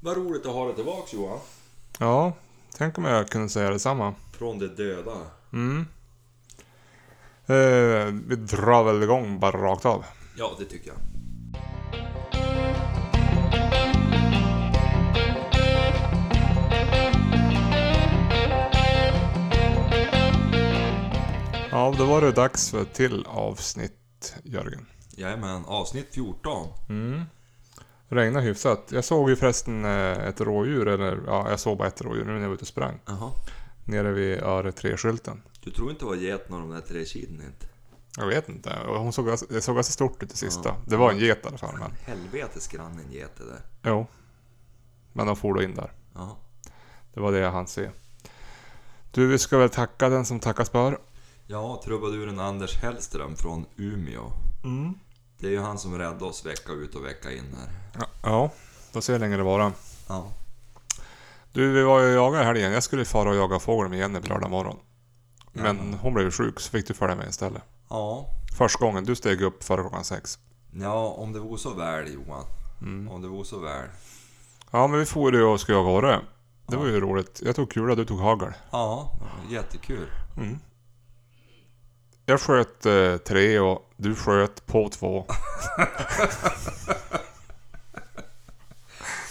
Vad roligt att ha dig tillbaks Johan. Ja, tänk om jag kunde säga detsamma. Från de döda. Mm. Eh, vi drar väl igång bara rakt av. Ja, det tycker jag. Ja, då var det dags för ett till avsnitt, Jörgen. Jajamän, avsnitt 14. Mm. Regnar hyfsat. Jag såg ju förresten eh, ett rådjur, eller ja, jag såg bara ett rådjur nu när jag var ute och sprang. Jaha. Nere vid Öre 3-skylten. Du tror inte det var geten av de där tre kiden inte? Jag vet inte, hon såg, ganska- det såg ganska stort ut i sista. Det var en get i alla fall. Men, Helvetes grann en get det där. jo. Men de for då in där. Jaha. Det var det jag hann se. Du, vi ska väl tacka den som tackas bör. Ja, trubaduren Anders Hellström från Umeå. Mm. Det är ju han som räddade oss vecka ut och vecka in här. Ja, ja, då ser jag hur länge det varar. Ja. Du, vi var ju och jagade i helgen. Jag skulle fara och jaga fågel med Jenny på lördag morgon. Men hon blev ju sjuk så fick du följa med istället. Ja. Första gången du steg upp före klockan sex. Ja, om det vore så väl Johan. Om det vore så väl. Ja, men vi for ju och skulle jaga orre. Det Ja. var ju roligt. Jag tog kula, du tog hagel. Ja, det var jättekul. Jag sköt eh, tre och du sköt på två.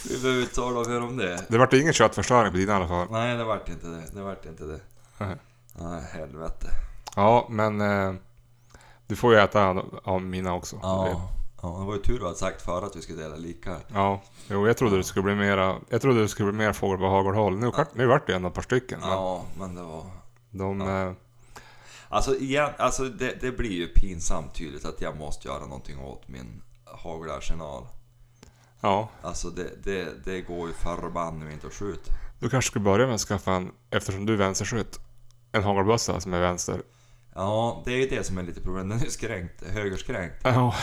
Vi behöver inte tala mer om det. Det vart ingen köttförstöring på din i alla fall. Nej, det vart inte det. Det vart inte det. Nej. Nej, helvete. Ja, men eh, du får ju äta av mina också. Ja. ja, det var ju tur du hade sagt förut att vi skulle dela lika. Ja, jo, jag trodde det skulle bli mera, jag trodde det skulle bli mer fågel på Hagelhåll. Nu, ja. nu vart det ändå ett par stycken. Men Ja, men det var... de, eh, Alltså, igen, alltså det, det blir ju pinsamt tydligt att jag måste göra någonting åt min hagelarsenal. ja, Alltså det, det, det går ju förbanne mig inte att skjuta. du kanske skulle börja med att skaffa en, eftersom du är vänsterskytt, en hagelbössa som är vänster. Ja, det är ju det som är lite problemet. Den är ju skränkt, högerskränkt. Ja,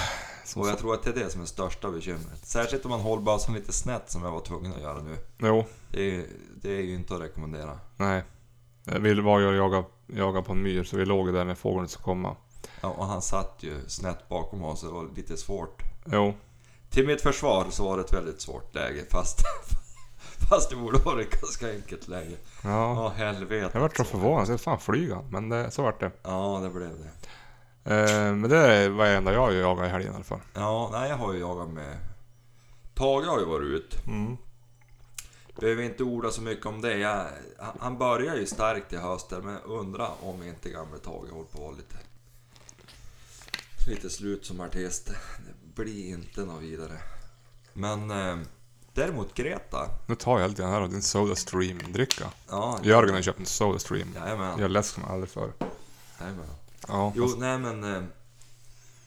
Och jag tror att det är det som är största bekymret. Särskilt om man håller bössan lite snett som jag var tvungen att göra nu. jo, Det är, ju- det är ju inte att rekommendera. nej. Vi var ju och jagade, jagade på en myr så vi låg där när fågeln skulle komma. Ja, och han satt ju snett bakom oss och det var lite svårt. Jo, Till mitt försvar så var det ett väldigt svårt läge fast, fast det borde vara ett ganska enkelt läge. ja. Ja, helvete. Jag vart så förvånad, så jag fan flyga. Men det, så vart det. Ja, det blev det. Eh, men det var det enda jag jagade i helgen i alla fall. Ja, nej jag har ju jagat med... Tage har ju varit ut. Mm. Behöver inte orda så mycket om det. Jag, han- han börjar ju starkt i hösten men undra om inte gamle Tage håller på att vara lite... Lite slut som artist. Det blir inte något vidare. Men eh, däremot Greta. Nu tar jag lite grann här av din Sodastream-dricka. Ja, Jörgen har köpt en Sodastream. Jajamän. Jag är läsk som aldrig förr. jajamän. Ja, Jo, fast- nej men... Eh,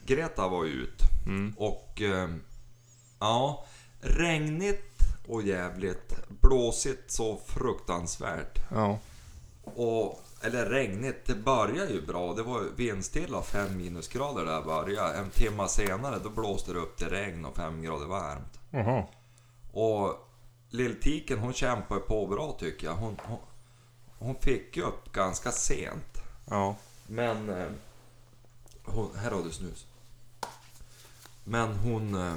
Greta var ju ut. Mm. Och... Eh, ja, regnigt och jävligt. Blåsigt så fruktansvärt. ja. Och... Eller regnigt, det börjar ju bra. Det var ju vindstilla 5 minusgrader där började. En timma senare då blåste det upp till regn och 5 grader varmt. Jaha. Och Lilltiken hon kämpade på bra tycker jag. Hon, hon, hon fick ju upp ganska sent. Ja. Men... Eh, hon, här har du snus. Men hon eh,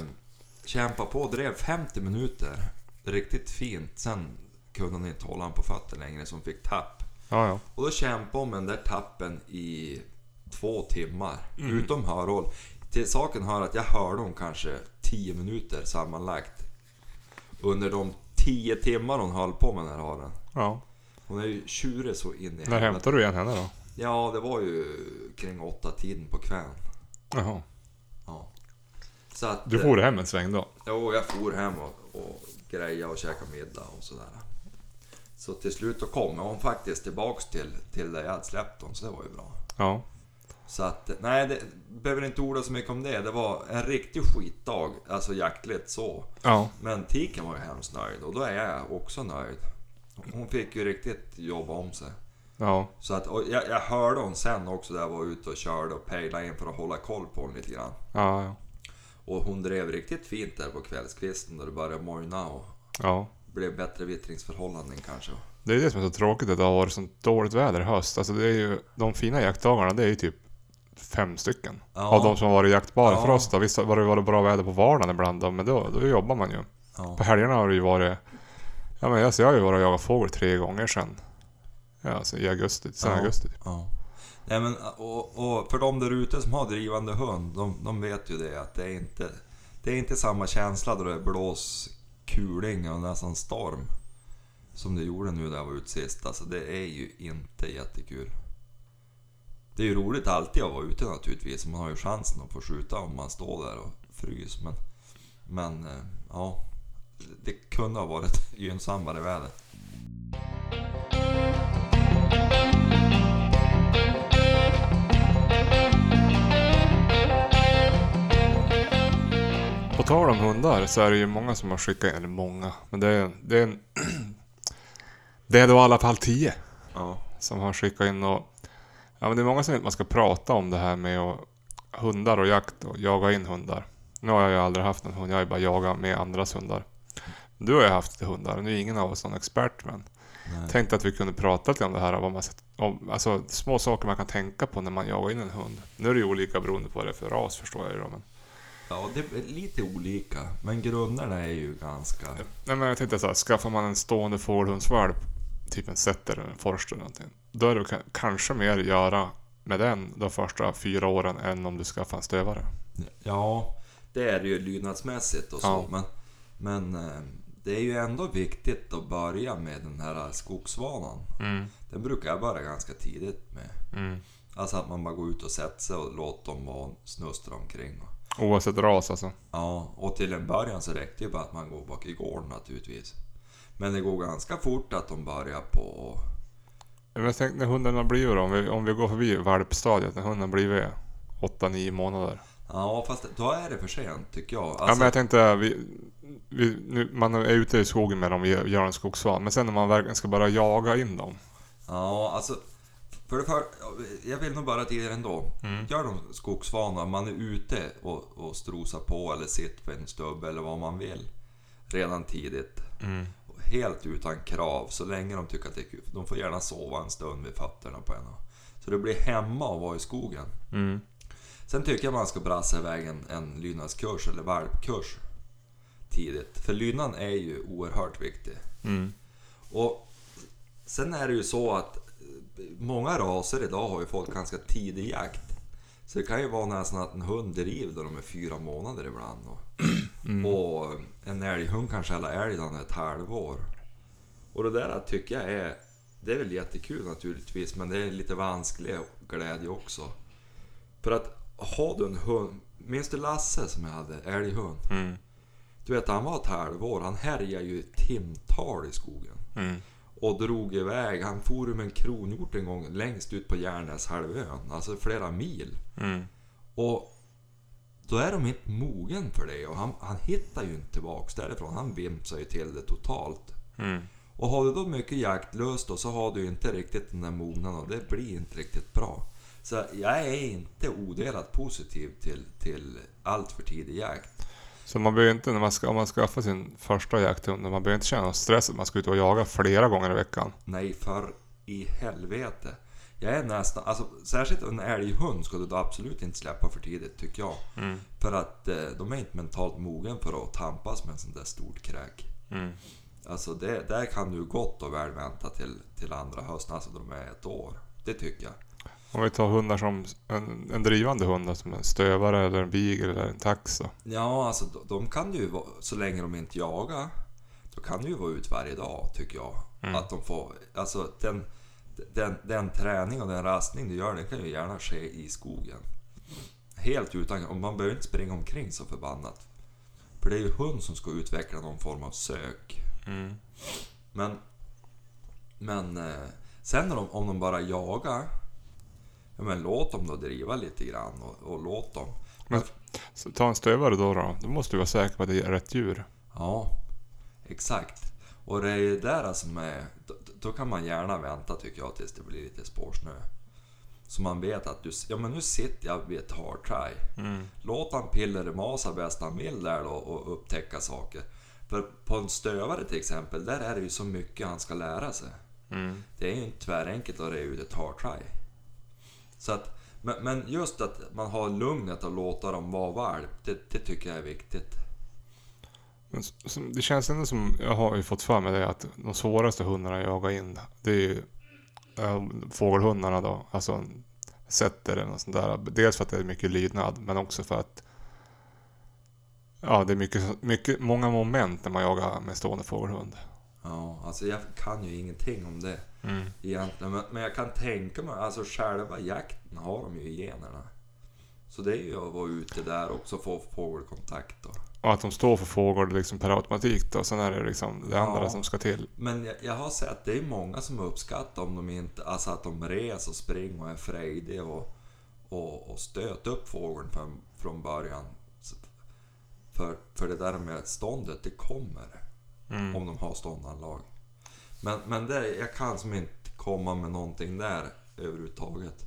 kämpade på och drev 50 minuter. Riktigt fint. Sen kunde hon inte hålla honom på fötter längre så hon fick tapp. Ja, ja. Och då kämpade hon med den där tappen i två timmar. Utom hörhåll. Till saken hör att jag hörde hon kanske 10 minuter sammanlagt. Under de 10 timmar hon höll på med den här haren. ja. Hon är ju tjurig så in i När hämtar du igen henne då? Ja, det var ju kring åtta tiden på kvällen. Jaha. Ja. Så att... Du for hem en sväng då? eh, Jo, jag for hem och, och greja och käka middag och sådär. Så till slut då kom hon faktiskt tillbaks till, till där jag hade släppt hon, så det var ju bra. Ja. Så att, eh, nej, det, behöver inte orda så mycket om det. Det var en riktig skitdag, alltså jaktligt så. Ja. Men tiken var ju hemskt nöjd och då är jag också nöjd. Hon fick ju riktigt jobba om sig. Ja. Så att, och jag, jag hörde hon sen också där jag var ute och körde och pejlade in för att hålla koll på hon lite grann. Ja. Ja. Och hon drev riktigt fint där på kvällskvisten då det började morgna och ja. blev bättre vittringsförhållanden kanske. Det är det som är så tråkigt att det har varit sånt dåligt väder i höst. Alltså det är ju, de fina jaktdagarna det är ju typ fem stycken. Ja. Av de som har varit jaktbara Ja. för oss då. Visst har det varit bra väder på vardagen ibland då, men då, då jobbar man ju. Ja. På helgerna har det ju varit Ja, men alltså, jag har ju varit och jagat fågel tre gånger sedan. Ja, alltså i augusti. Sen Ja. augusti. typ. Ja. Nej, men, och, och för de där ute som har drivande hund, de, de vet ju det att det är inte det är inte samma känsla då det blås kuling och nästan storm. Som det gjorde nu när jag var ute sist. Alltså det är ju inte jättekul. Det är ju roligt alltid att vara ute naturligtvis. Man har ju chansen att få skjuta om man står där och frys. Men, men eh, ja, det kunde ha varit gynnsammare väder. På tal om hundar så är det ju många som har skickat in, eller många, men det är, det är en... det är då i alla fall tio Ja, som har skickat in och... Ja, men det är många som inte man ska prata om det här med och, hundar och jakt och jaga in hundar. Nu har jag ju aldrig haft en hund, jag har ju bara jagat med andras hundar. Du har ju haft lite hundar, nu är ingen av oss någon expert men... nej. Tänkte att vi kunde prata lite om det här, om, vad man, sett- om alltså, små saker man kan tänka på när man jagar in en hund. Nu är det ju olika beroende på vad det är för ras förstår jag ju då, men... Ja, det är lite olika. Men grunderna är ju ganska... Nej men jag tänkte så här, skaffar man en stående fågelhundsvalp, typ en setter eller en forster eller någonting. Då är det ka- kanske mer att göra med den de första fyra åren än om du skaffar en stövare. Ja, det är det ju lydnadsmässigt och så. Ja. Men, men eh, det är ju ändå viktigt att börja med den här skogsvanan. Mm. Den brukar jag börja ganska tidigt med. Mm. Alltså att man bara går ut och sätter sig och låter dem vara och snustra omkring. och- Oavsett ras alltså. Ja, och till en början så räckte ju bara att man går bak i gården naturligtvis. Men det går ganska fort att de börjar på... Men jag tänkte när hunden har blivit då, om vi, om vi går förbi valpstadiet, när hunden har blivit 8-9 månader. Ja, fast då är det för sent tycker jag. ja men Alltså, jag tänkte, vi, vi, nu, man är ute i skogen med dem och gör gör en skogsvan. Men sen när man verkligen ska börja jaga in dem. Ja, alltså. För det för, jag vill nog bara till er ändå. Mm. Gör de skogsvana, man är ute och, och strosar på eller sitter på en stubbe eller vad man vill. Redan tidigt. Mm. Och Helt utan krav, så länge de tycker att det är kul. De får gärna sova en stund vid fötterna på en. Så det blir hemma och vara i skogen. Mm. Sen tycker jag man ska brassa iväg en, en lydnadskurs eller valpkurs tidigt. För lydnaden är ju oerhört viktig. Mm. Och sen är det ju så att eh, många raser idag har ju fått ganska tidig jakt. Så det kan ju vara nästan att en hund driver då de är fyra månader ibland. Och, och en älghund kanske hela älgen ett halvår. Och det där tycker jag är... Det är väl jättekul naturligtvis men det är lite vansklig glädje också. För att har du en hund... Minns du Lasse som jag hade? Älghund. Mm. Du vet han var ett halvår. Han härjade ju i timtal i skogen Mm. och drog iväg. Han for ju med en kronhjort en gång längst ut på Järnäshalvön, alltså flera mil. Mm. Och då är de inte mogen för det och han, han hittar ju inte tillbaks därifrån. Han vimsar ju till det totalt. Mm. Och har du då mycket jaktlust och så har du inte riktigt den där mognaden och det blir inte riktigt bra. Så jag är inte odelat positiv till, till allt för tidig jakt. Så man behöver inte, när man ska, om man skaffar sin första jakthund, man behöver inte känna någon stress att man ska ut och jaga flera gånger i veckan. Nej, för i helvete. Jag är nästan, alltså särskilt en älghund ska du då absolut inte släppa för tidigt tycker jag. Mm. För att eh, de är inte mentalt mogen för att tampas med en sån där stort kräk. Mm. Alltså det, där kan du gott och väl vänta till, till andra hösten, alltså de är ett år. Det tycker jag. Om vi tar hundar som en, en drivande hund, då, som en stövare eller en beagle eller en tax. då. Ja, alltså de, de kan ju vara, så länge de inte jagar, då kan de ju vara ut varje dag tycker jag. Att de får, alltså den, den, den träning och den rastning du gör, den kan ju gärna ske i skogen. Helt utan, och man behöver inte springa omkring så förbannat. För det är ju hund som ska utveckla någon form av sök. Mm. Men, men eh, sen när de, om de bara jagar, ja men låt dem då driva lite grann och, och låt dem. Så ta en stövare då, då. Då måste du vara säker på att det är rätt djur. Ja, exakt. Och det är ju där som är... Då, då kan man gärna vänta tycker jag tills det blir lite spårsnö. Så man vet att du... Ja men nu sitter jag vid ett hard try. Mm. Låt han pillermasa bäst han vill där då och upptäcka saker. För på en stövare till exempel, där är det ju så mycket han ska lära sig. Mm. Det är ju inte tvärenkelt att reda ut ett hard try. Så att, men, men just att man har lugnet att låta dem vara valp, det, det tycker jag är viktigt. Men s- som- det känns ändå som, jag har ju fått för mig det, att de svåraste hundarna att jaga in, det är ju eh, fågelhundarna då. Alltså en setter eller något sånt där. Dels för att det är mycket lydnad, men också för att ja, det är mycket, mycket, många moment när man jagar med stående fågelhund. Ja, alltså jag kan ju ingenting om det Mm. egentligen. Men, men jag kan tänka mig, alltså själva jakten har de ju i generna. Så det är ju att vara ute där också och få fågelkontakt då. Och att de står för fågel liksom per automatik då. Sen är det liksom det andra Ja. som ska till. Men jag, jag har sett att det är många som uppskattar om de inte, alltså att de reser och springer och är frejdiga och, och, och stöter upp fågeln från, från början. Så- För, för det där med ståndet, det kommer Mm. om de har ståndanlag. Men, men det, jag kan som inte komma med någonting där överhuvudtaget.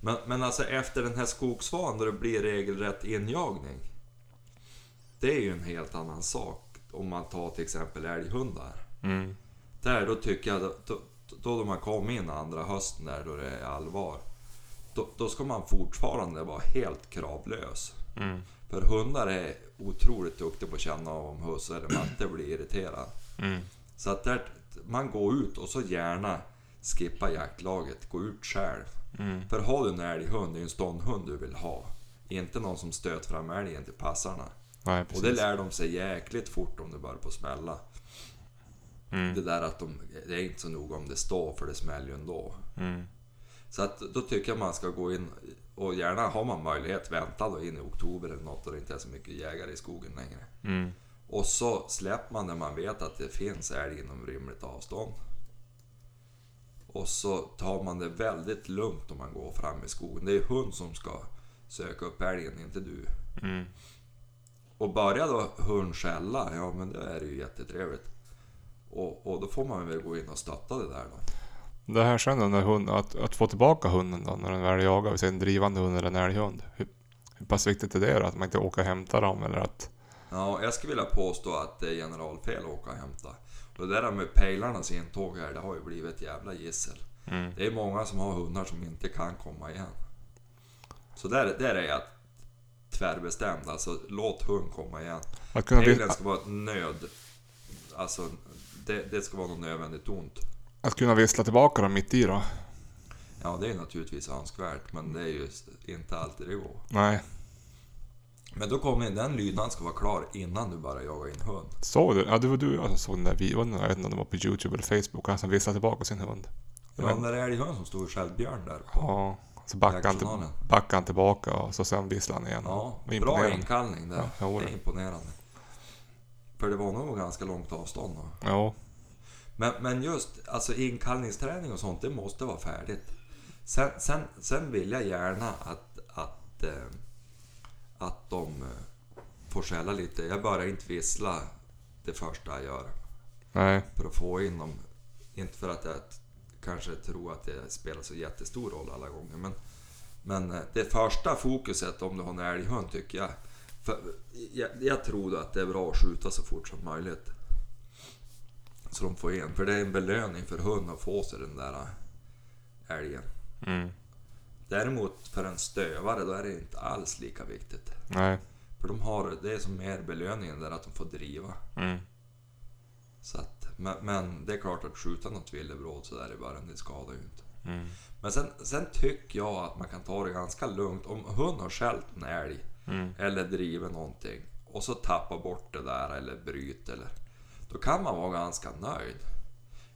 Men, men alltså efter den här skogsvan då det blir regelrätt injagning. Det är ju en helt annan sak om man tar till exempel älghundar. Mm. Där då tycker jag, då, då de har kommit in andra hösten där då det är allvar. Då, då ska man fortfarande vara helt kravlös. Mm. För hundar är otroligt duktiga på att känna av om husse eller matte blir irriterad. Mm. Så att där, man går ut och så gärna skippa jaktlaget, gå ut själv. Mm. För har du en älghund, det är ju en ståndhund du vill ha. Inte någon som stöt fram älgen till passarna. Nej, Och det precis. lär de sig jäkligt fort om det börjar på att smälla. Mm. Det där att de, det är inte så noga om det står för det smäller ju ändå. Mm. Så att då tycker jag man ska gå in och gärna har man möjlighet vänta då in i oktober eller något och det inte är så mycket jägare i skogen längre. Mm. Och så släpper man när man vet att det finns älg inom rimligt avstånd. Och så tar man det väldigt lugnt om man går fram i skogen. Det är hund som ska söka upp älgen, inte du. Mm. Och börjar då hund skälla, ja men då är det ju jättetrevligt. Och, och då får man väl gå in och stötta det där då. Det här sen då, när hund, att, att få tillbaka hunden då, när den väl jagar, vi säger en drivande hund eller en älghund. Hur, hur pass viktigt är det då? Att man inte åker och hämtar dem eller att... Ja, jag skulle vilja påstå att det är generalfel att åka och hämta. Och det där med pejlarnas intåg här, det har ju blivit ett jävla gissel. Mm. Det är många som har hundar som inte kan komma igen. Så där, där är jag tvärbestämd. Alltså, låt hund komma igen. Att kunna, Pejlen vis- ska vara ett nöd... Alltså, det, det ska vara något nödvändigt ont. att kunna vissla tillbaka dem mitt i då? Ja, det är naturligtvis önskvärt, men det är ju inte alltid det går. Nej. Men då kommer den lydnaden ska vara klar innan du börjar jaga in hund. Såg du? Ja, det var du som såg den där videon. Jag vet inte om det var på Youtube eller Facebook. Han som visslade tillbaka sin hund. Det var den där älghund som stod i Skällbjörn där. Ja. Så backade han, till, Jaktjournalen. backade han tillbaka och så sen visslade han igen. Ja, Det var bra imponerande. inkallning där. Ja, jag håller. det är imponerande. För det var nog ganska långt avstånd då. Ja. Men, men just alltså inkallningsträning och sånt, det måste vara färdigt. Sen, sen, sen vill jag gärna att, att, eh, att de eh, får skälla lite. Jag börjar inte vissla det första jag gör Nej. för att få in dem. Inte för att jag t- kanske tror att det spelar så jättestor roll alla gånger. Men, men eh, det första fokuset om du har en älghund tycker jag. För jag, jag tror då att det är bra att skjuta så fort som möjligt. Så de får in. För det är en belöning för hunden att få sig den där eh, älgen. Mm. Däremot för en stövare då är det inte alls lika viktigt. Nej. För de har, det är som mer belöningen där att de får driva. Mm. Så att, men, men det är klart att skjuta något villebråd sådär i början, det skadar ju inte. Mm. Men sen, sen tycker jag att man kan ta det ganska lugnt. Om hund har skällt en älg Mm. eller drivit någonting och så tappar bort det där eller bryter eller... Då kan man vara ganska nöjd.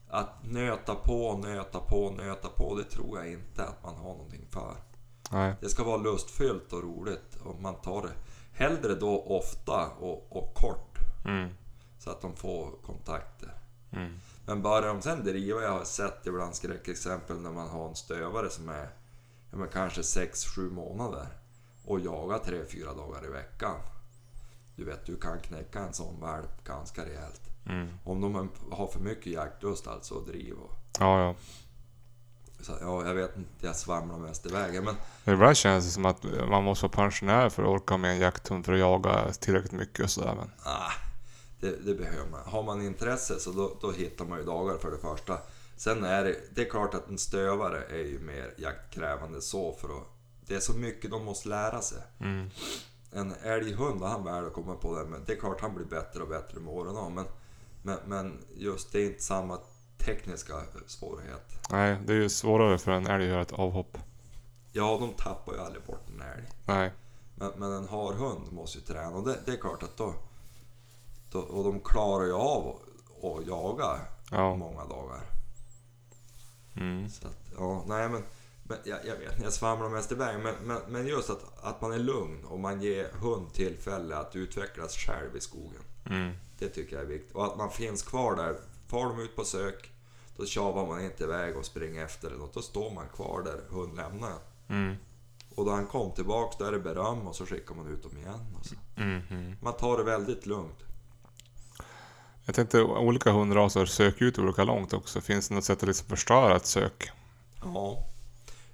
Att nöta på, nöta på, nöta på, det tror jag inte att man har någonting för. Nej. Det ska vara lustfyllt och roligt och man tar det hellre då ofta och, och kort Mm. så att de får kontakter. Mm. Men bara de sen driva, jag har sett ibland skräckexempel när man har en stövare som är ja, men kanske 6-7 månader och jagar 3-4 dagar i veckan. Du vet, du kan knäcka en sån valp ganska rejält. Mm. Om de har för mycket jaktlust alltså och driv. Och, Ja, ja. så, ja, jag vet inte, jag svamlar mest i vägen. Men Ibland känns det som att man måste vara pensionär för att orka med en jakthund för att jaga tillräckligt mycket och sådär. Men, Ah, det, det behöver man. Har man intresse så då, då hittar man ju dagar för det första. Sen är det, det är klart att en stövare är ju mer jaktkrävande så för att det är så mycket de måste lära sig. mm, en älghund när han väl har kommit på det. Men det är klart han blir bättre och bättre med åren av, men, men, men just det är inte samma tekniska svårighet. Nej, det är ju svårare för en älg att göra ett avhopp. Ja, de tappar ju aldrig bort en älg. Nej, Men, men en harhund måste ju träna och det, det är klart att då, då... Och de klarar ju av att- att jaga ja. många dagar. Mm. Så att, ja, nej men, men jag, jag vet, jag svamlar mest iväg. Men, men, men just att, att man är lugn och man ger hund tillfälle att utvecklas själv i skogen. Mm. Det tycker jag är viktigt. Och att man finns kvar där. Far de ut på sök, då tjavar man inte iväg och springer efter eller något. Då står man kvar där hund lämnar en. Mm. Och då han kom tillbaks, då är det beröm och så skickar man ut dem igen. Och så. Mm. Mm. Man tar det väldigt lugnt. Jag tänkte olika hundraser söker ut olika långt också. Finns det något sätt att liksom förstöra ett sök? Ja.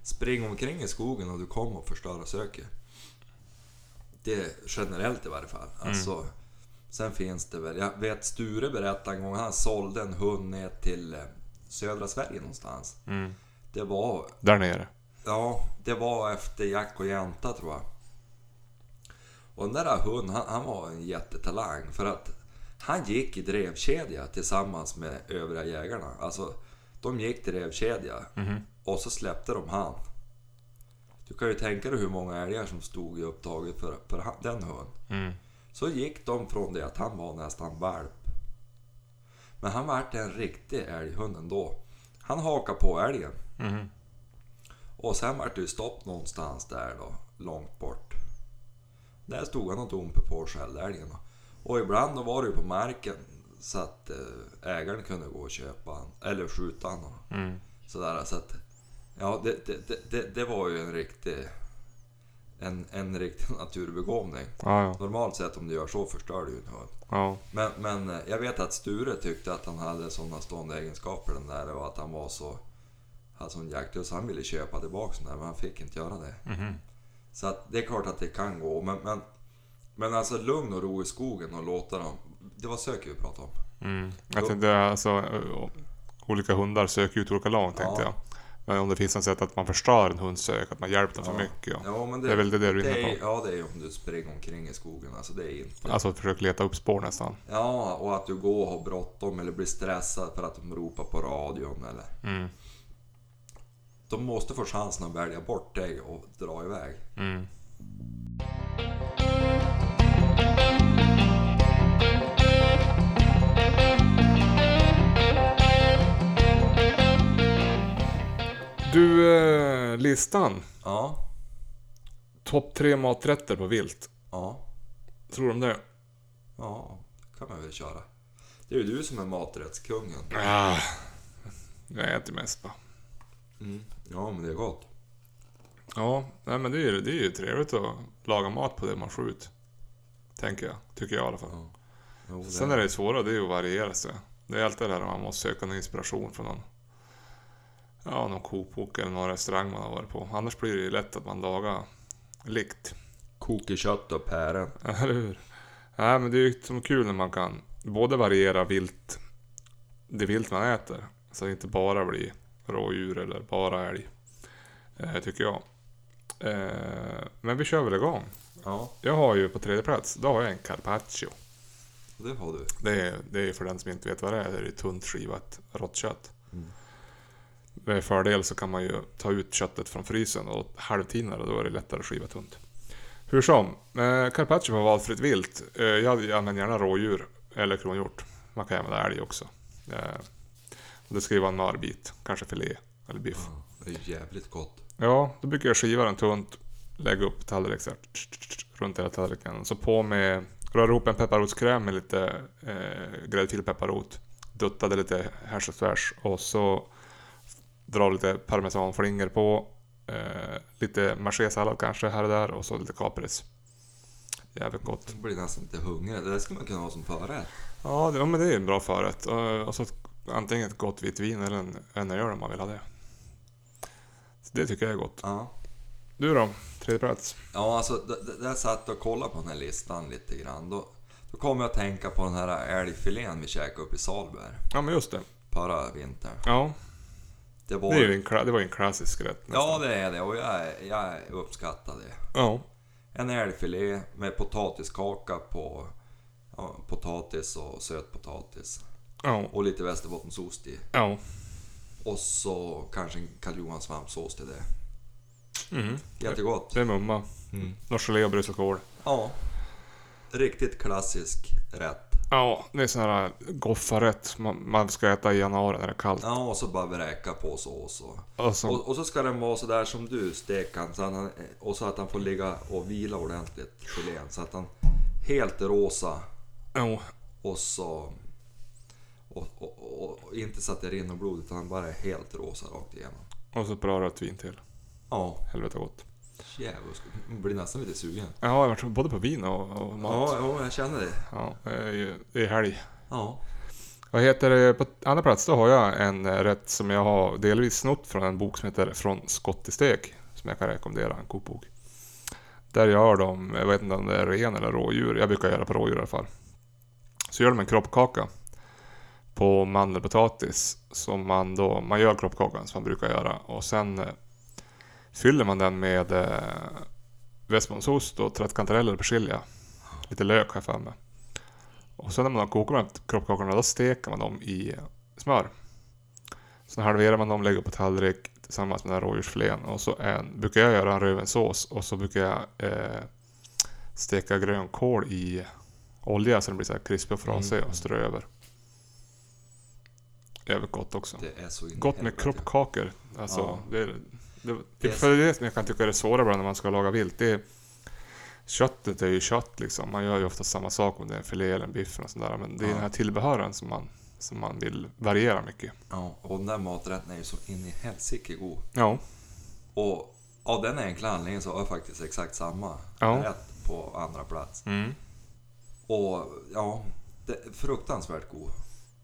Spring omkring i skogen och du kommer att förstöra söket. Det är generellt i varje fall. Mm. Alltså, sen finns det väl. Jag vet Sture berättade en gång, han sålde en hund ner till eh, södra Sverige någonstans. Mm. Det var, Där nere. ja, det var efter Jack och Jänta tror jag. Och den där hunden, han, han var en jättetalang för att han gick i drevkedja tillsammans med övriga jägarna. Alltså, de gick drevkedja Mhm. och så släppte de han. Du kan ju tänka dig hur många älgar som stod i upptaget för, för han, den hunden. Mm. Så gick de från det att han var nästan valp. Men han vart en riktig älghund ändå. Han hakade på älgen. Mhm. Och sen vart det ju stopp någonstans där då, långt bort. Där stod han och dompe på skällälgen. då. Och ibland då var det ju på marken så att eh, ägaren kunde gå och köpa han, eller skjuta han. då. Mm. Sådär, så att, ja, det, det, det- det, det var ju en riktig, en, en riktig naturbegåvning. Ja, ja. Normalt sett om du gör så förstör du ju en hund. ja. Men, men eh, jag vet att Sture tyckte att han hade sådana stående egenskaper den där och att han var så... Hade sån jaktlust. Han ville köpa tillbaka den där men han fick inte göra det. Mhm. Så att det är klart att det kan gå. Men, men, men alltså lugn och ro i skogen och låta dem... Det var söker vi pratade om. Mm. Jag tänkte alltså, ö, olika hundar söker ut olika långt Ja. tänkte jag. Men om det finns något sätt att man förstör en hunds sök, att man hjälper den Ja. för mycket. Och, Ja, men det är väl det du är det inne är, ja, det är ju om du springer omkring i skogen. Alltså det är inte... på. Alltså att försöka leta upp spår nästan. Ja, och att du går och har bråttom eller blir stressad för att de ropar på radion eller... Mm. De måste få chansen att välja bort dig och dra iväg. Mm. Du, eh, listan. Ja, Topp tre maträtter på vilt. ja. Tror de det? Ja, det kan man väl köra. Det är ju du som är maträttskungen. Ah, jag äter mest bara. Ja, men det är gott. Ja, nej, men det är, ju- det är ju trevligt att laga mat på det man får ut. Tänker jag. Tycker jag i alla fall. Ja. Jo, det Sen är det svåra, det är ju att variera sig. Det är alltid det här man måste söka någon inspiration från någon. Ja, någon kokbok eller någon restaurang man har varit på. Annars blir det ju lätt att man lagar likt. Kokar kött och päron. Eller hur? Nej, men det är ju som kul när man kan både variera vilt, det vilt man äter, så det inte bara blir rådjur eller bara älg. Eh, tycker jag. Eh, men vi kör väl igång. Ja, Jag har ju på tredje plats, då har jag en carpaccio. och det har du. Det är, det är för den som inte vet vad det är, det är ju tunt skivat rått kött. Mm. Med fördel så kan man ju ta ut köttet från frysen och halvtina det, då är det lättare att skiva tunt. Hur som, eh, carpaccio var valfritt vilt. Eh, jag jag använder gärna rådjur eller kronhjort. Man kan använda älg också. Eh, och det ska ju vara en mörbit, kanske filé eller biff. Ja, det är jävligt gott. Ja, då brukar jag skiva den tunt, lägga upp tallrik så här, runt hela tallriken. Så på med, rör ihop en pepparrotskräm med lite eh, gräddfil pepparrot. Dutta det lite härs och tvärs och så dra lite parmesanflingor på. Eh, lite marchésallad kanske här och där och så lite kapris. Jävligt gott. Jag blir nästan lite hungrig. Det där skulle man kunna ha som förrätt. Ja, det, ja men det är en bra förrätt. Och, och så ett- antingen ett gott vitt vin eller en, en öl om man vill ha det. Så det tycker jag är gott. Ja. Du då? Tredje plats? Ja, alltså d- d- där satt jag och kollade på den här listan lite grann. Då, då kom jag att tänka på den här älgfilén vi käkade uppe i Salberg Ja, men just det. förra vintern. Ja, Det det, var... är ju en, kla- det var ju en klassisk rätt. ja, det är det och jag, jag uppskattar det. ja. en älgfilé med potatiskaka på ja, potatis och sötpotatis. Ja. Och lite västerbottensost i. Ja. Och så kanske en Karl Johan svampsås till det. Mm. Jättegott. Det är mumma. Mm. Någon gelé och brusad kål. Ja. Riktigt klassisk rätt. Ja, det är sån här goffarätt man, man ska äta i januari när det är kallt. Ja, och så bara vräka på sås och... Och så, Och, och så ska den vara sådär som du, stekan, så att han, eh, och så att han får ligga och vila ordentligt, filén. Så att han helt rosa ja, och så... Och, och, och, och inte så att det rinner blod, utan han bara är helt rosa rakt igenom. och så ett bra rött vin till. Ja, Helvete gott. djävulskt. Jag blir nästan lite sugen. Ja, jag har varit både på vin och, och mat. Ja, ja, jag känner det. Ja, det är ju det är helg. Ja. Vad heter det? På andra plats då har jag en eh, rätt som jag har delvis snott från en bok som heter Från skott till stek. Som jag kan rekommendera, en kokbok. Där gör de, jag vet inte om det är ren eller rådjur, jag brukar göra på rådjur i alla fall. Så gör de en kroppkaka på mandelpotatis som man då, man gör kroppkakan som man brukar göra och sen eh, fyller man den med eh, västmansost och trattkantareller och persilja. Lite lök har jag för mig. Och sen när man har kokat de här kroppkakorna, då steker man dem i smör. Sen halverar man dem, lägger på tallrik tillsammans med den här rådjursfilén. Och så en, brukar jag göra en rödvinssås och så brukar jag eh, steka grönkål i olja så den blir så här krispig och frasig Mm. och strö över. Jävligt gott också. Det är så in i Gott med helvete. kroppkakor. Alltså, Ja. det, det, det, Yes. För det är det som jag kan tycka är det svåra ibland när man ska laga vilt. Det är, köttet är ju kött liksom. Man gör ju ofta samma sak om det är en filé eller en biff och sådär. Men det är Ja. den här tillbehören som man, som man vill variera mycket. Ja, och den där maträtten är ju så in i helsike god. Ja, Och av den enkla anledningen så har jag faktiskt exakt samma Ja. rätt på andra plats. mm. Och ja, det är fruktansvärt god.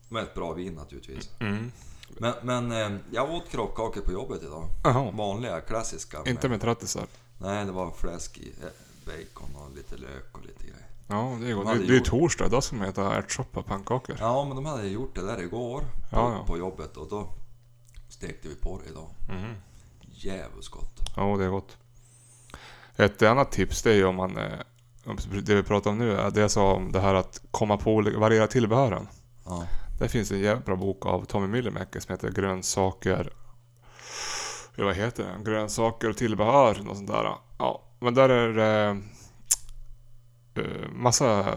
Med ett bra vin naturligtvis. Mm. Men, men eh, jag åt kroppkakor på jobbet idag. Jaha. Vanliga, klassiska. Inte med trattisar. Nej, det var fläsk i, eh, bacon och lite lök och lite grejer. Ja, det är De gott. Det, hade det är ju gjort- torsdag. Idag ska man äta ärtsoppa och pannkakor. Ja, men de hade ju gjort det där igår på, Ja, ja. på jobbet och då stekte vi på det idag. Mm. Djävulskt gott. Ja, det är gott. Ett annat tips det är ju om man... eh, om Det vi pratar om nu är det jag sa om det här att komma på olika- variera tillbehören. Ja. Där finns en jävligt bra bok av Tommy Myllymäki som heter Grönsaker... Ja, vad heter den? Grönsaker och tillbehör, något sånt där. Ja, men där är det eh, massa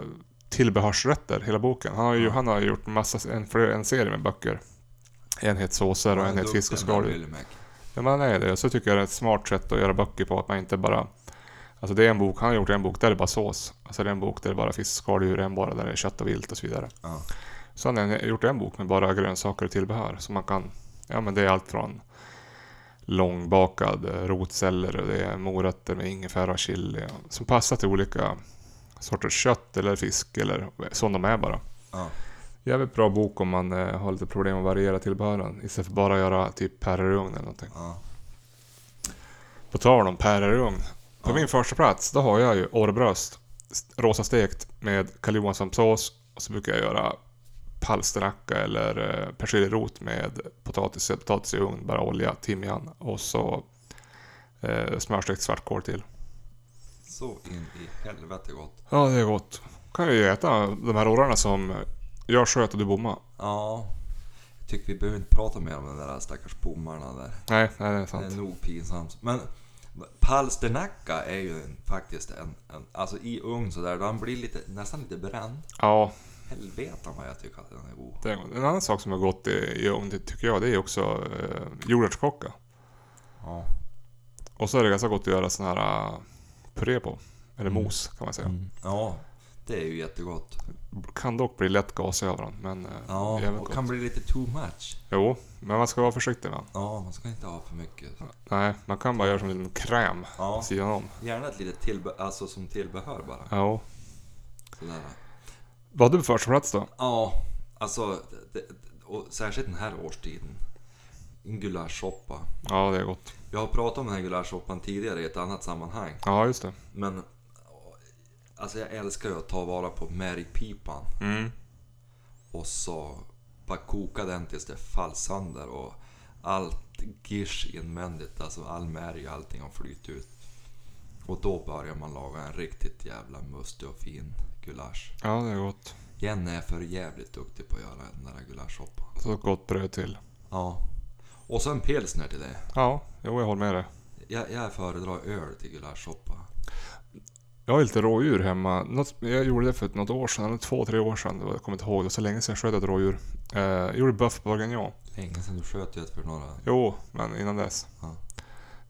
tillbehörsrätter, hela boken. Han har ju, Ja. han har ju gjort massa, en, fler- en serie med böcker. En het såser och en het fisk och skaldjur. Ja, men han är det. Och så tycker jag det är ett smart sätt att göra böcker på, att man inte bara... Alltså det är en bok, han har gjort en bok där det är bara sås. Alltså det är en bok där det är bara fisk, skaldjur, en bara där det är kött och vilt och så vidare. Ja. Så han har gjort en bok med bara grönsaker och tillbehör. Så man kan, ja men det är allt från långbakad eh, rotceller och det är morötter med ingefära och chili. och- Som passar till olika sorters kött eller fisk eller som de är bara. Ja. Jävligt bra bok om man eh, har lite problem att variera tillbehören istället för bara att göra typ pärlugn eller någonting. Ja. På tal om pärlugn. På Ja. min första plats då har jag ju orrbröst. st- Rosa stekt med Karl Johansson-sås. Och så brukar jag göra palsternacka eller eh, persiljerot med potatis, potatis i ugn, bara olja, timjan och så eh, smörstekt svartkål till. Så in i helvete gott. Ja, det är gott. Kan ju äta de här orrarna som jag sköt och du bomma. Ja. Jag tycker vi behöver inte prata mer om de där stackars pommarna där. Nej, nej, det är Det är sant. Eh, nog pinsamt. Men palsternacka är ju en, faktiskt en, en... Alltså i ugn sådär, då han blir lite, nästan lite bränd. Ja, Helvete vad jag tycker att den är god. det är gott. En annan sak som är gott i, i ugn det tycker jag, det är också eh, jordärtskocka. Ja. Och så är det ganska gott att göra sån här äh, puré på. Eller Mm. mos kan man säga. Ja, det är ju jättegott. Kan dock bli lätt gasig av den. Men äh, Ja, jävligt och gott. kan bli lite too much. Jo, men man ska vara försiktig med den. Ja, man ska inte ha för mycket. Nej, man kan bara göra som en liten kräm på Ja, sidan om. gärna ett litet tillbe- alltså som tillbehör bara. Ja. Sådär. Vad hade du för första plats då? Ja, alltså det, det- och särskilt den här årstiden. En gulaschsoppa. Ja, det är gott. Jag har pratat om den här gulaschsoppan tidigare i ett annat sammanhang. Ja, just det. Men alltså jag älskar ju att ta vara på märgpipan Mm. och så bara koka den tills det fall sönder och allt gish invändigt, alltså all märg och allting har flytt ut. Och då börjar man laga en riktigt jävla mustig och fin gulasch. Ja, det är gott. Jenny är för jävligt duktig på att göra den där gulaschsoppan. Så ett gott bröd till. Ja. Och så en pilsner till det. Ja, jo, jag håller med dig. Jag, jag föredrar öl till gulaschsoppa. Jag har ju lite rådjur hemma. Något, jag gjorde det för något år sedan, eller två, tre år sedan. Jag kommer inte ihåg, det var så länge sedan jag sköt ett rådjur. Eh, jag gjorde bœuf bourguignon. Länge sedan du sköt ju ett för några... Jo, men innan dess. Ja.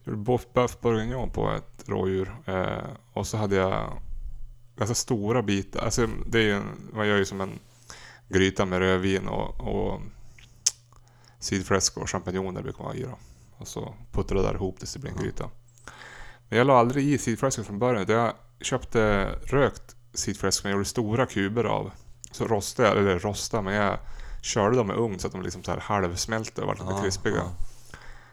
Jag gjorde boff- bœuf bourguignon på ett rådjur. Eh, och så hade jag ganska stora bitar. Alltså, det är ju en, man gör ju som en gryta med rödvin och, och sidfläsk och champinjoner brukar man ha i då. Och så puttrar det där ihop tills det blir en Ja. gryta. Men jag la aldrig i sidfläsken från början. utan Jag köpte rökt sidfläsk som jag gjorde stora kuber av. Så rostade jag, eller rostade, men jag körde dem i ugn så att de liksom så här halvsmälte och vart lite Ja, krispiga. ja.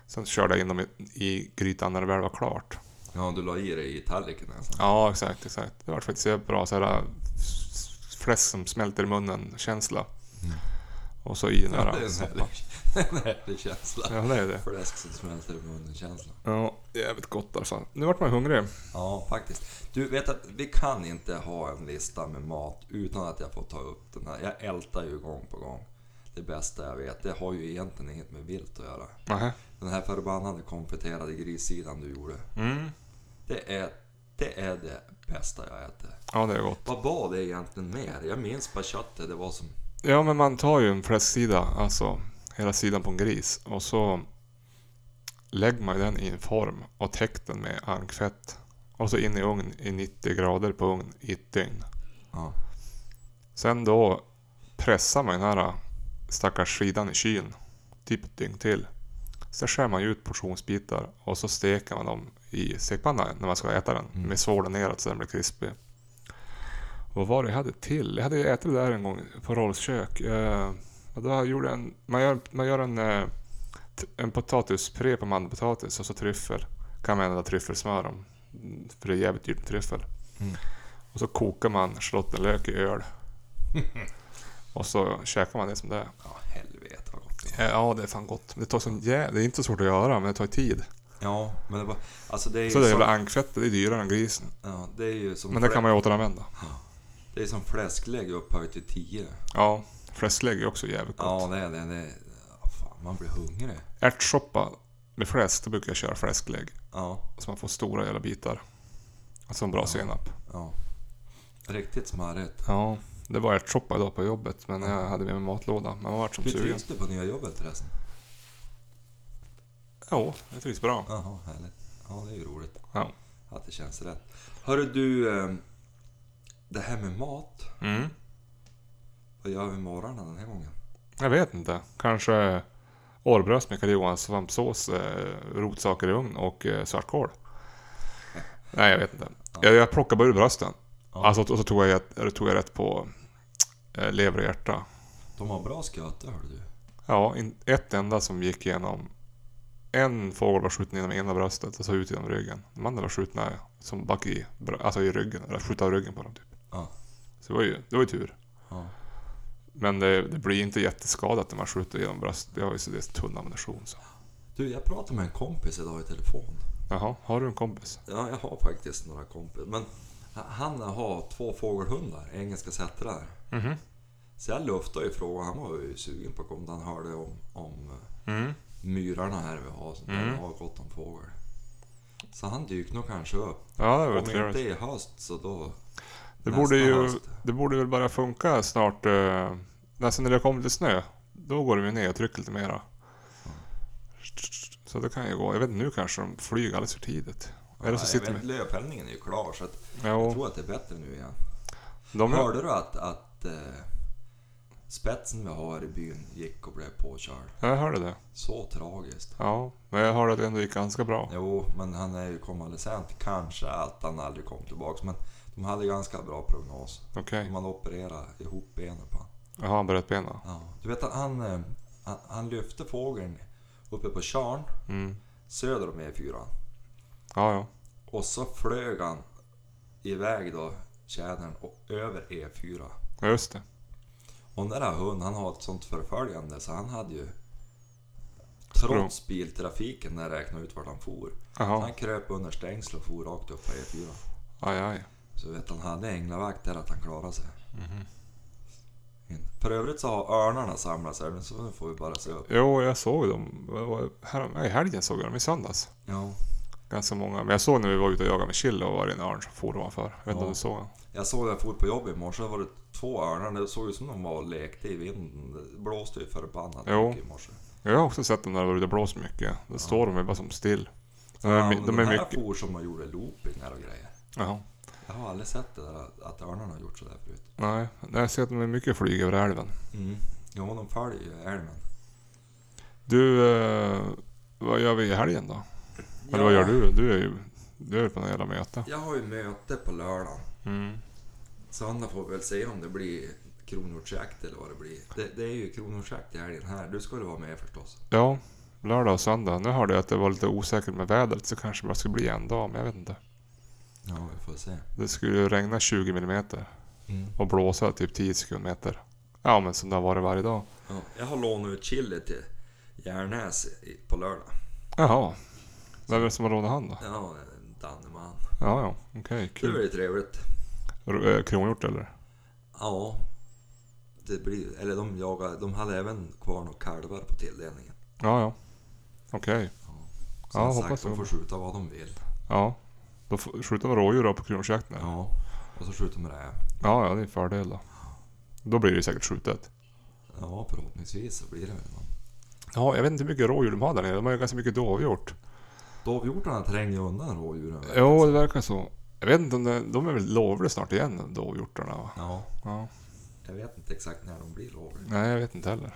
Sen körde jag in dem i, i grytan när det väl var klart. Ja, du la i det i tallriken alltså. Ja, exakt, exakt. Det var faktiskt ett bra så här, s- fläsk som smälter i munnen-känsla. Mm. Och så i den Ja, det är där en soppan. härlig, en härlig känsla. Ja, det är det. Fläsk som smälter i munnen känslan. Ja, jävligt gott i alla fall. Nu vart man hungrig. Ja, faktiskt. Du vet att vi kan inte ha en lista med mat utan att jag får ta upp den här. Jag ältar ju gång på gång. Det bästa jag vet. Det har ju egentligen inget med vilt att göra. Nähä. Den här förbannade konfiterade grissidan du gjorde. Mm. Det är det, är det bästa jag äter. Ja, det är gott. Vad var det egentligen mer? Jag minns bara köttet. Det var som... Ja, men man tar ju en fläsksida, alltså hela sidan på en gris. Och så lägger man ju den i en form och täcker den med ankfett. Och så in i ugn i 90 grader på ugn i ett dygn. Ja. Sen då pressar man den här äh, stackars skidan i kylen. Typ ett dygn till. Sen skär man ju ut portionsbitar och så steker man dem i stekpanna när man ska äta den. Mm. Med svålen neråt så den blir krispig. Och Vad var det jag hade till? Jag hade ju ätit det där en gång på Rolfs kök. Eh, och då gjorde jag en, man gör, man gör en, eh, t- en potatispuré på mandelpotatis och så tryffel. Kan man använda tryffelsmör om. mm, För det är jävligt dyrt med tryffel. Mm. Och så kokar man schlottenlök i öl. och så käkar man det som det är. Ja, helvete vad gott det var. Eh, Ja, det är fan gott. Det, tar sån jä... det är inte så svårt att göra, men det tar ju tid. Ja, men det var... Alltså det är ju Så det jävla som... ankfettet, det är dyrare än grisen. Ja, det är ju som... Men det flä- kan man ju återanvända. Det är som fläsklägg upphöjt till 10. Ja, fläsklägg är också jävligt Ja, gott. det är det. det är, ja, fan, man blir hungrig. Ärtsoppa med fläsk, då brukar jag köra fläsklägg. Ja, Så man får stora jävla bitar. Och så en bra Ja. senap. ja. Riktigt smarrigt. Ja, det var ärtsoppa idag på jobbet, men jag hade med mig matlåda. Men man vart som Hur sugen. trivs du på nya jobbet förresten? Jo, det trivs bra. Jaha, härligt. Ja, det är ju roligt. Ja. Att det känns rätt. Hörru du, eh, det här med mat. Mm. Vad gör vi imorgon den här gången? Jag vet inte. Kanske årbröst med karl svampsås, eh, rotsaker i ugn och eh, svartkål. Nej, jag vet inte. Jag, jag plockade bara ur brösten. Ja. Alltså, och så tog jag, rätt- tog jag rätt på eh, lever och hjärta. De har bra sköte hör du. Ja, in, ett enda som gick igenom. En fågel var skjuten genom ena bröstet och så ut genom ryggen. De andra var skjutna som bak i, br- alltså i ryggen, eller skjutna av ryggen på dem typ. Ja. Så det var ju, det var ju tur. Ja. Men det, det blir inte jätteskadat när man skjuter genom bröstet. Det har ju så det är så tunn ammunition så. Du, jag pratade med en kompis idag i telefon. Jaha, har du en kompis? Ja, jag har faktiskt några kompisar. Men han har två fågelhundar, engelska settrar. Mhm. Så jag luftade ju frågan, han var ju sugen på att komma. Han hörde om, om eh, Mm. myrarna här vi har, som Mm. har gott om fågel. Så han dyker nog kanske upp. Ja, det var Om väl inte trevligt. i höst så då... Det nästa borde ju höst. det borde väl börja funka snart. eh, Nästan när det kommer lite snö. Då går de ju ner och trycker lite mera. Så det kan ju gå. Jag vet inte, nu kanske de flyger alldeles för tidigt. Eller så Ja, sitter jag vet, de... Lövfällningen är ju klar så att jag Jo, tror att det är bättre nu igen. de är... Hörde du att, att eh, spetsen vi har i byn gick och blev påkörd? Jag hörde det. Så tragiskt. Ja, men jag hörde att det ändå gick ganska bra. Jo, men han är ju konvalescent. Kanske att han aldrig kom tillbaks. Men de hade ganska bra prognos. Okej. Man opererade ihop benen på han. Jaha, han bröt benen. Ja. Du vet att han, eh, han, han lyfte fågeln uppe på Tjörn Mm. söder om E4. Ja, ja. Och så flög han iväg då, tjädern, och över E E4. Ja, just det. Och den där hunden, han har ett sånt förföljande så han hade ju... Trots biltrafiken när jag räknade ut vart han for. Så Jaha, Han kröp under stängsel och for rakt upp på E4. aj aj. Så vet han hade änglavakt där att han klarade sig. För övrigt så har örnarna samlats här, men så nu får vi bara se upp. Jo, jag såg dem. Vad var det? Härom- nej, I helgen såg jag dem, i söndags. Ja. Ganska många. Men jag såg när vi var ute och jagade med Chille och var det en örn som for ovanför. Jag vet inte Ja. om du såg den? Jag såg när jag for på jobb i morse, var det två örnar. Det såg ut som de var och lekte i vinden. Det blåste ju förbannat Jo. mycket i morse. Jag har också sett dem när det var ute och blåst mycket. Då står de ju bara som still. De är, Ja, mi- men de den är här mycket... for som de gjorde loopingar och grejer. Ja. Jag har aldrig sett det där att örnarna har gjort sådär förut. Nej, jag ser att de är mycket flyg över älven. Mm. Ja, de följer ju älven. Du, eh, vad gör vi i helgen då? Eller vad Ja, gör du? Du är ju du är ju på något jävla möte. Jag har ju möte på lördagen. Mm. Söndag får vi väl se om det blir kronhjortsjakt eller vad det blir. Det, det är ju kronhjortsjakt i helgen här. Du skulle vara med förstås. Ja, lördag och söndag. Nu hörde jag att det var lite osäkert med vädret så kanske det bara skulle bli en dag, men jag vet inte. Ja, vi får se. Det skulle ju regna 20 millimeter Mm. och blåsa typ 10 sekundmeter. Ja, men som det har varit varje dag. Ja, jag har lånat ut chili till Järnäs i- på lördag. Jaha. Vem är det som har lånat han då? Ja, en Danneman. Ja, ja. Okej, Det kul. blir trevligt. R- eh, Kronhjort eller? Ja. Det blir, eller de jagade, de hade även kvar några kalvar på tilldelningen. Ja, ja. Okej. Som Ja, hoppas sagt, det. de får skjuta vad de vill. Ja. Då f- skjuter de rådjur då på kronhjortsjakten? eller? Ja. Och så skjuter de räv. Ja, ja, det är en fördel då. Då blir det ju säkert skjutet. Ja, förhoppningsvis så blir det väl någon. Ja, jag vet inte hur mycket rådjur de har där nere. De har ju ganska mycket dovhjort. Dovhjortarna tränger ju undan rådjuren. vet Jo, jag. det verkar så. Jag vet inte om det, de är väl lovliga snart igen, dovhjortarna va? Ja, Ja. jag vet inte exakt när de blir rådjur. Nej, jag vet inte heller.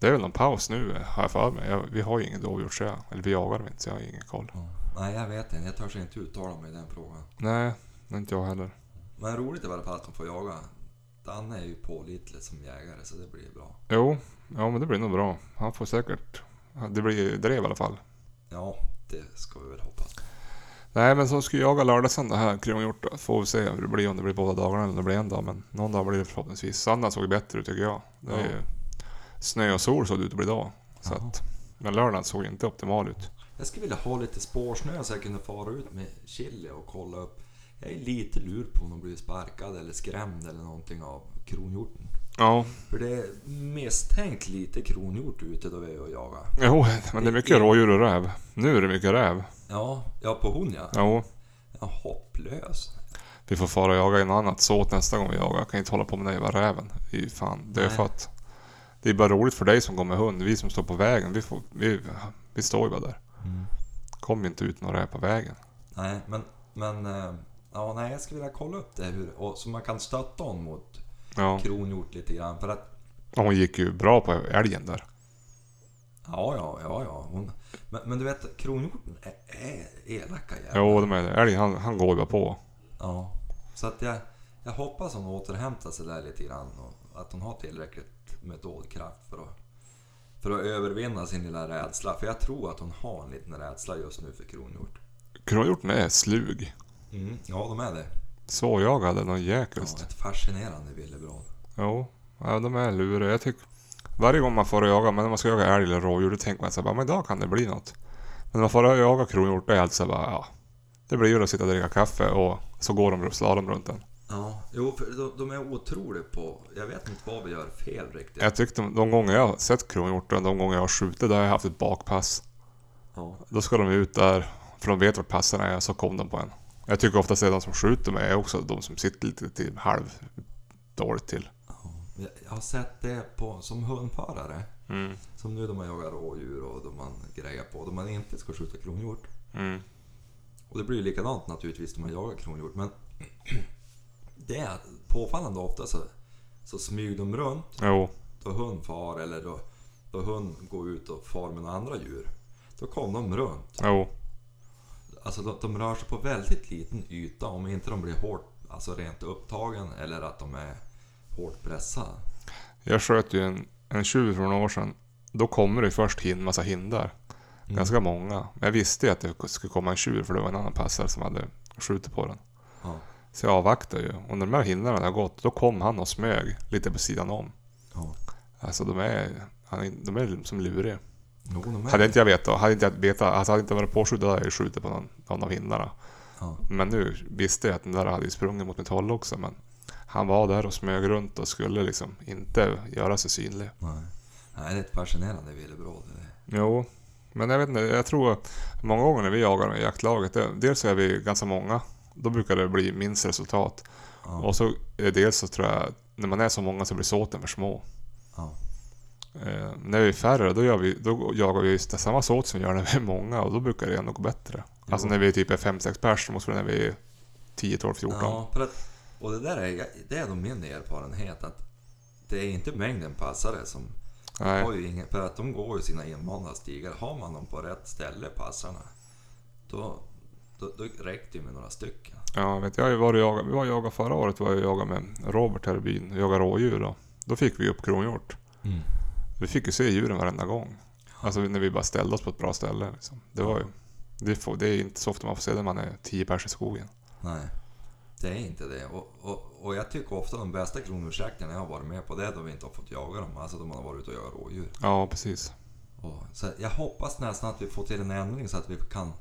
Det är väl någon paus nu, har jag för mig. Jag, vi har ju ingen dovhjort, så jag, eller vi jagar dem inte, så jag har ingen koll. Ja. Nej, jag vet inte. Jag törs inte uttala mig i den frågan. Nej, det är inte jag heller. Men roligt i alla fall att de får jaga. Danne är ju pålitlig som jägare så det blir bra. Jo, ja men det blir nog bra. Han får säkert... Det blir drev i alla fall. Ja, det ska vi väl hoppas. Nej, men så ska jag jaga lördag söndag här, kronhjort. då. Får vi se hur det blir, om det blir båda dagarna eller om det blir en dag. Men någon dag blir det förhoppningsvis. Söndag såg bättre ut tycker jag. Det är Ja. ju snö och sol såg det ut att bli idag. Så Jaha. att, men lördagen såg inte optimal ut. Jag skulle vilja ha lite spårsnö så jag kunde fara ut med chili och kolla upp. Jag är lite lur på om de blir sparkade eller skrämd eller någonting av kronhjorten. Ja, För det är misstänkt lite kronhjort ute då vi är och jagar. jo, men det är mycket rådjur och räv. Nu är det mycket räv. Ja, ja på hon ja. Jo, ja hopplös. vi får fara och jaga i något annat såt nästa gång vi jagar. Jag kan inte hålla på med den där jävla räven. Det är ju fan dödfött. Det är bara roligt för dig som går med hund. Vi som står på vägen, vi, får, vi, vi står ju bara där. Kom ju inte ut några räv på vägen. Nej, men, men eh, ja, nej, jag skulle vilja kolla upp det hur, och, så man kan stötta hon mot Ja. kronhjort lite grann. För att Och Hon gick ju bra på älgen där. Ja, ja, ja, ja. Hon... Men, men du vet, kronhjorten är, är elaka jävlar. Jo, de är det. Älgen, han, han går ju bara på. Ja. Så att jag, jag hoppas hon återhämtar sig där lite grann och att hon har tillräckligt med dådkraft för att, för att övervinna sin lilla rädsla. För jag tror att hon har en liten rädsla just nu för kronhjort. Kronhjorten är slug. Mm. Ja, de är det. Svårjagade någon Ja, jäkligt. ett fascinerande villebråd. Jo, ja, de är luriga. Jag tycker... Varje gång man får och jaga, men när man ska jaga älg eller rådjur, då tänker man så här, bara, men idag kan det bli något. Men när man får och jaga kronhjort, då är det alltså bara, ja. Det blir ju att sitta och dricka kaffe och så går de slalom runt den. Ja, jo, för de, de är otroligt på... Jag vet inte vad vi gör fel riktigt. Jag tyckte de, de gånger jag har sett kronhjorten, de gånger jag har skjutit, där har jag haft ett bakpass. Ja. Då ska de ut där, för de vet vart passen är, så kom de på en. Jag tycker oftast att de som skjuter mig är också de som sitter lite till halv dåligt till. Jag, jag har sett det på, som hundförare. Som nu då man jagar rådjur och då man grejer på. Då man inte ska skjuta kronhjort. Mm. Och det blir ju likadant naturligtvis när man jagar kronhjort. Men det är påfallande ofta så, så smyger de runt Jo, då hund far eller då, då hund går ut och far med några andra djur. Då kommer de runt. jo, Alltså de, de rör sig på väldigt liten yta om inte de blir hårt alltså rent upptagen eller att de är hårt pressade. jag sköt ju en, en tjur för några år sedan. Då kommer det först en massa hindar. Ganska många. Men jag visste ju att det skulle komma en tjur för det var en annan passare som hade skjutit på den. Ja. Så jag avvaktade ju. Och när de här hindrarna har gått, då kom han och smög lite på sidan om. Ja. Alltså de är, han är- de är som luriga. Jo, de är... Hade inte jag vetat, hade inte jag vetat, alltså hade inte varit påskjuten hade jag ju skjutit på någon, någon av hindarna. Ja. Men nu visste jag att den där hade ju sprungit mot mitt håll också. Men han var där och smög runt och skulle liksom inte göra sig synlig. Nej. Nej, det är ett fascinerande villebråd. det är- Jo, men jag vet inte. Jag tror många gånger när vi jagar med jaktlaget, det- dels är vi ganska många. Då brukar det bli minst resultat. Ja. Och så eh, dels så tror jag, när man är så många så blir såten för små. Ja. Eh, när vi är färre, då, gör vi, då jagar vi just samma såt som vi gör när vi är många och då brukar det ändå gå bättre. Jo. Alltså när vi typ är 5-6 pers, så måste det när vi är 10, 12, 14. Ja, för att, och det där är, det är då min erfarenhet att det är inte mängden passare som Nej. har ju ingen, för att de går ju sina invanda stigar. Har man dem på rätt ställe, passarna, då, då, då räcker det ju med några stycken. Ja, jag vet jag har ju varit och jagat. Vi var och jagade förra året var jag och jagade med Robert här i byn och jagade rådjur. Då. då fick vi upp kronhjort. Vi fick ju se djuren varenda gång. Alltså när vi bara ställde oss på ett bra ställe. Liksom. Det var ju... Det, får, det är inte så ofta man får se det när man är 10 pers i skogen. Nej, det är inte det. Och, och, och jag tycker ofta de bästa kronhjortsjakterna jag har varit med på, det är då vi inte har fått jaga dem. Alltså då man har varit ute och jagat rådjur. Ja, precis. Och, så jag hoppas nästan att vi får till en ändring så att vi kan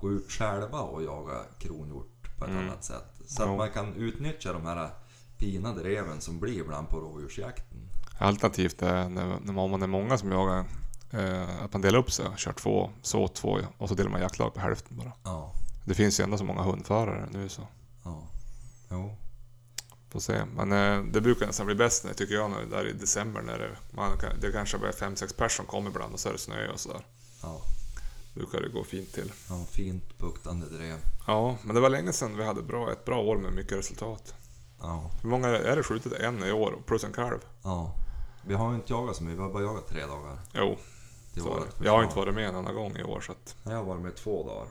gå ut själva och jaga kronhjort på ett Mm. annat sätt. Så att Ja. man kan utnyttja de här pinade reven som blir ibland på rådjursjakten. Alternativt är när, när man om man är många som jagar, eh, att man delar upp sig. Kör två, så två och så delar man jaktlag på hälften bara. Ja, Det finns ju ändå så många hundförare nu så. ja, jo. Får se. Men eh, det brukar nästan bli bäst när, tycker jag, när, där i december. När det, man, kan- det kanske bara är 5-6 personer som kommer ibland och så är det snö och sådär. Ja, Brukar det gå fint till. ja, fint buktande drev. Ja, men det var länge sedan vi hade bra, ett bra år med mycket resultat. Ja, Hur många är det skjutit? En i år, plus en kalv? ja. Vi har ju inte jagat så mycket, vi har bara jagat tre dagar. Jo, Det så var är ett det. Jag försvar. har inte varit med en enda gång i år så, att, Nej, Jag har varit med två dagar.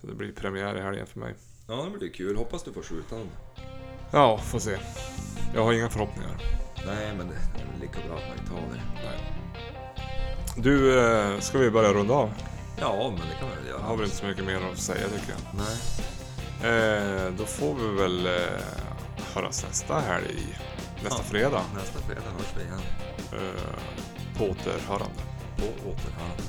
så det blir premiär i helgen för mig. Ja, det blir kul. Hoppas du får skjuta dem. Ja, får se. Jag har inga förhoppningar. Nej, men det är väl lika bra att man inte har det. Nej. Du, eh, ska vi börja runda av? Ja, men det kan man väl göra. Jag har väl inte så mycket mer att säga tycker jag. Nej. Eh, då får vi väl eh, höras nästa helg, i- nästa Ja. fredag. Nästa fredag hörs vi igen. Eh, på återhörande. På återhörande.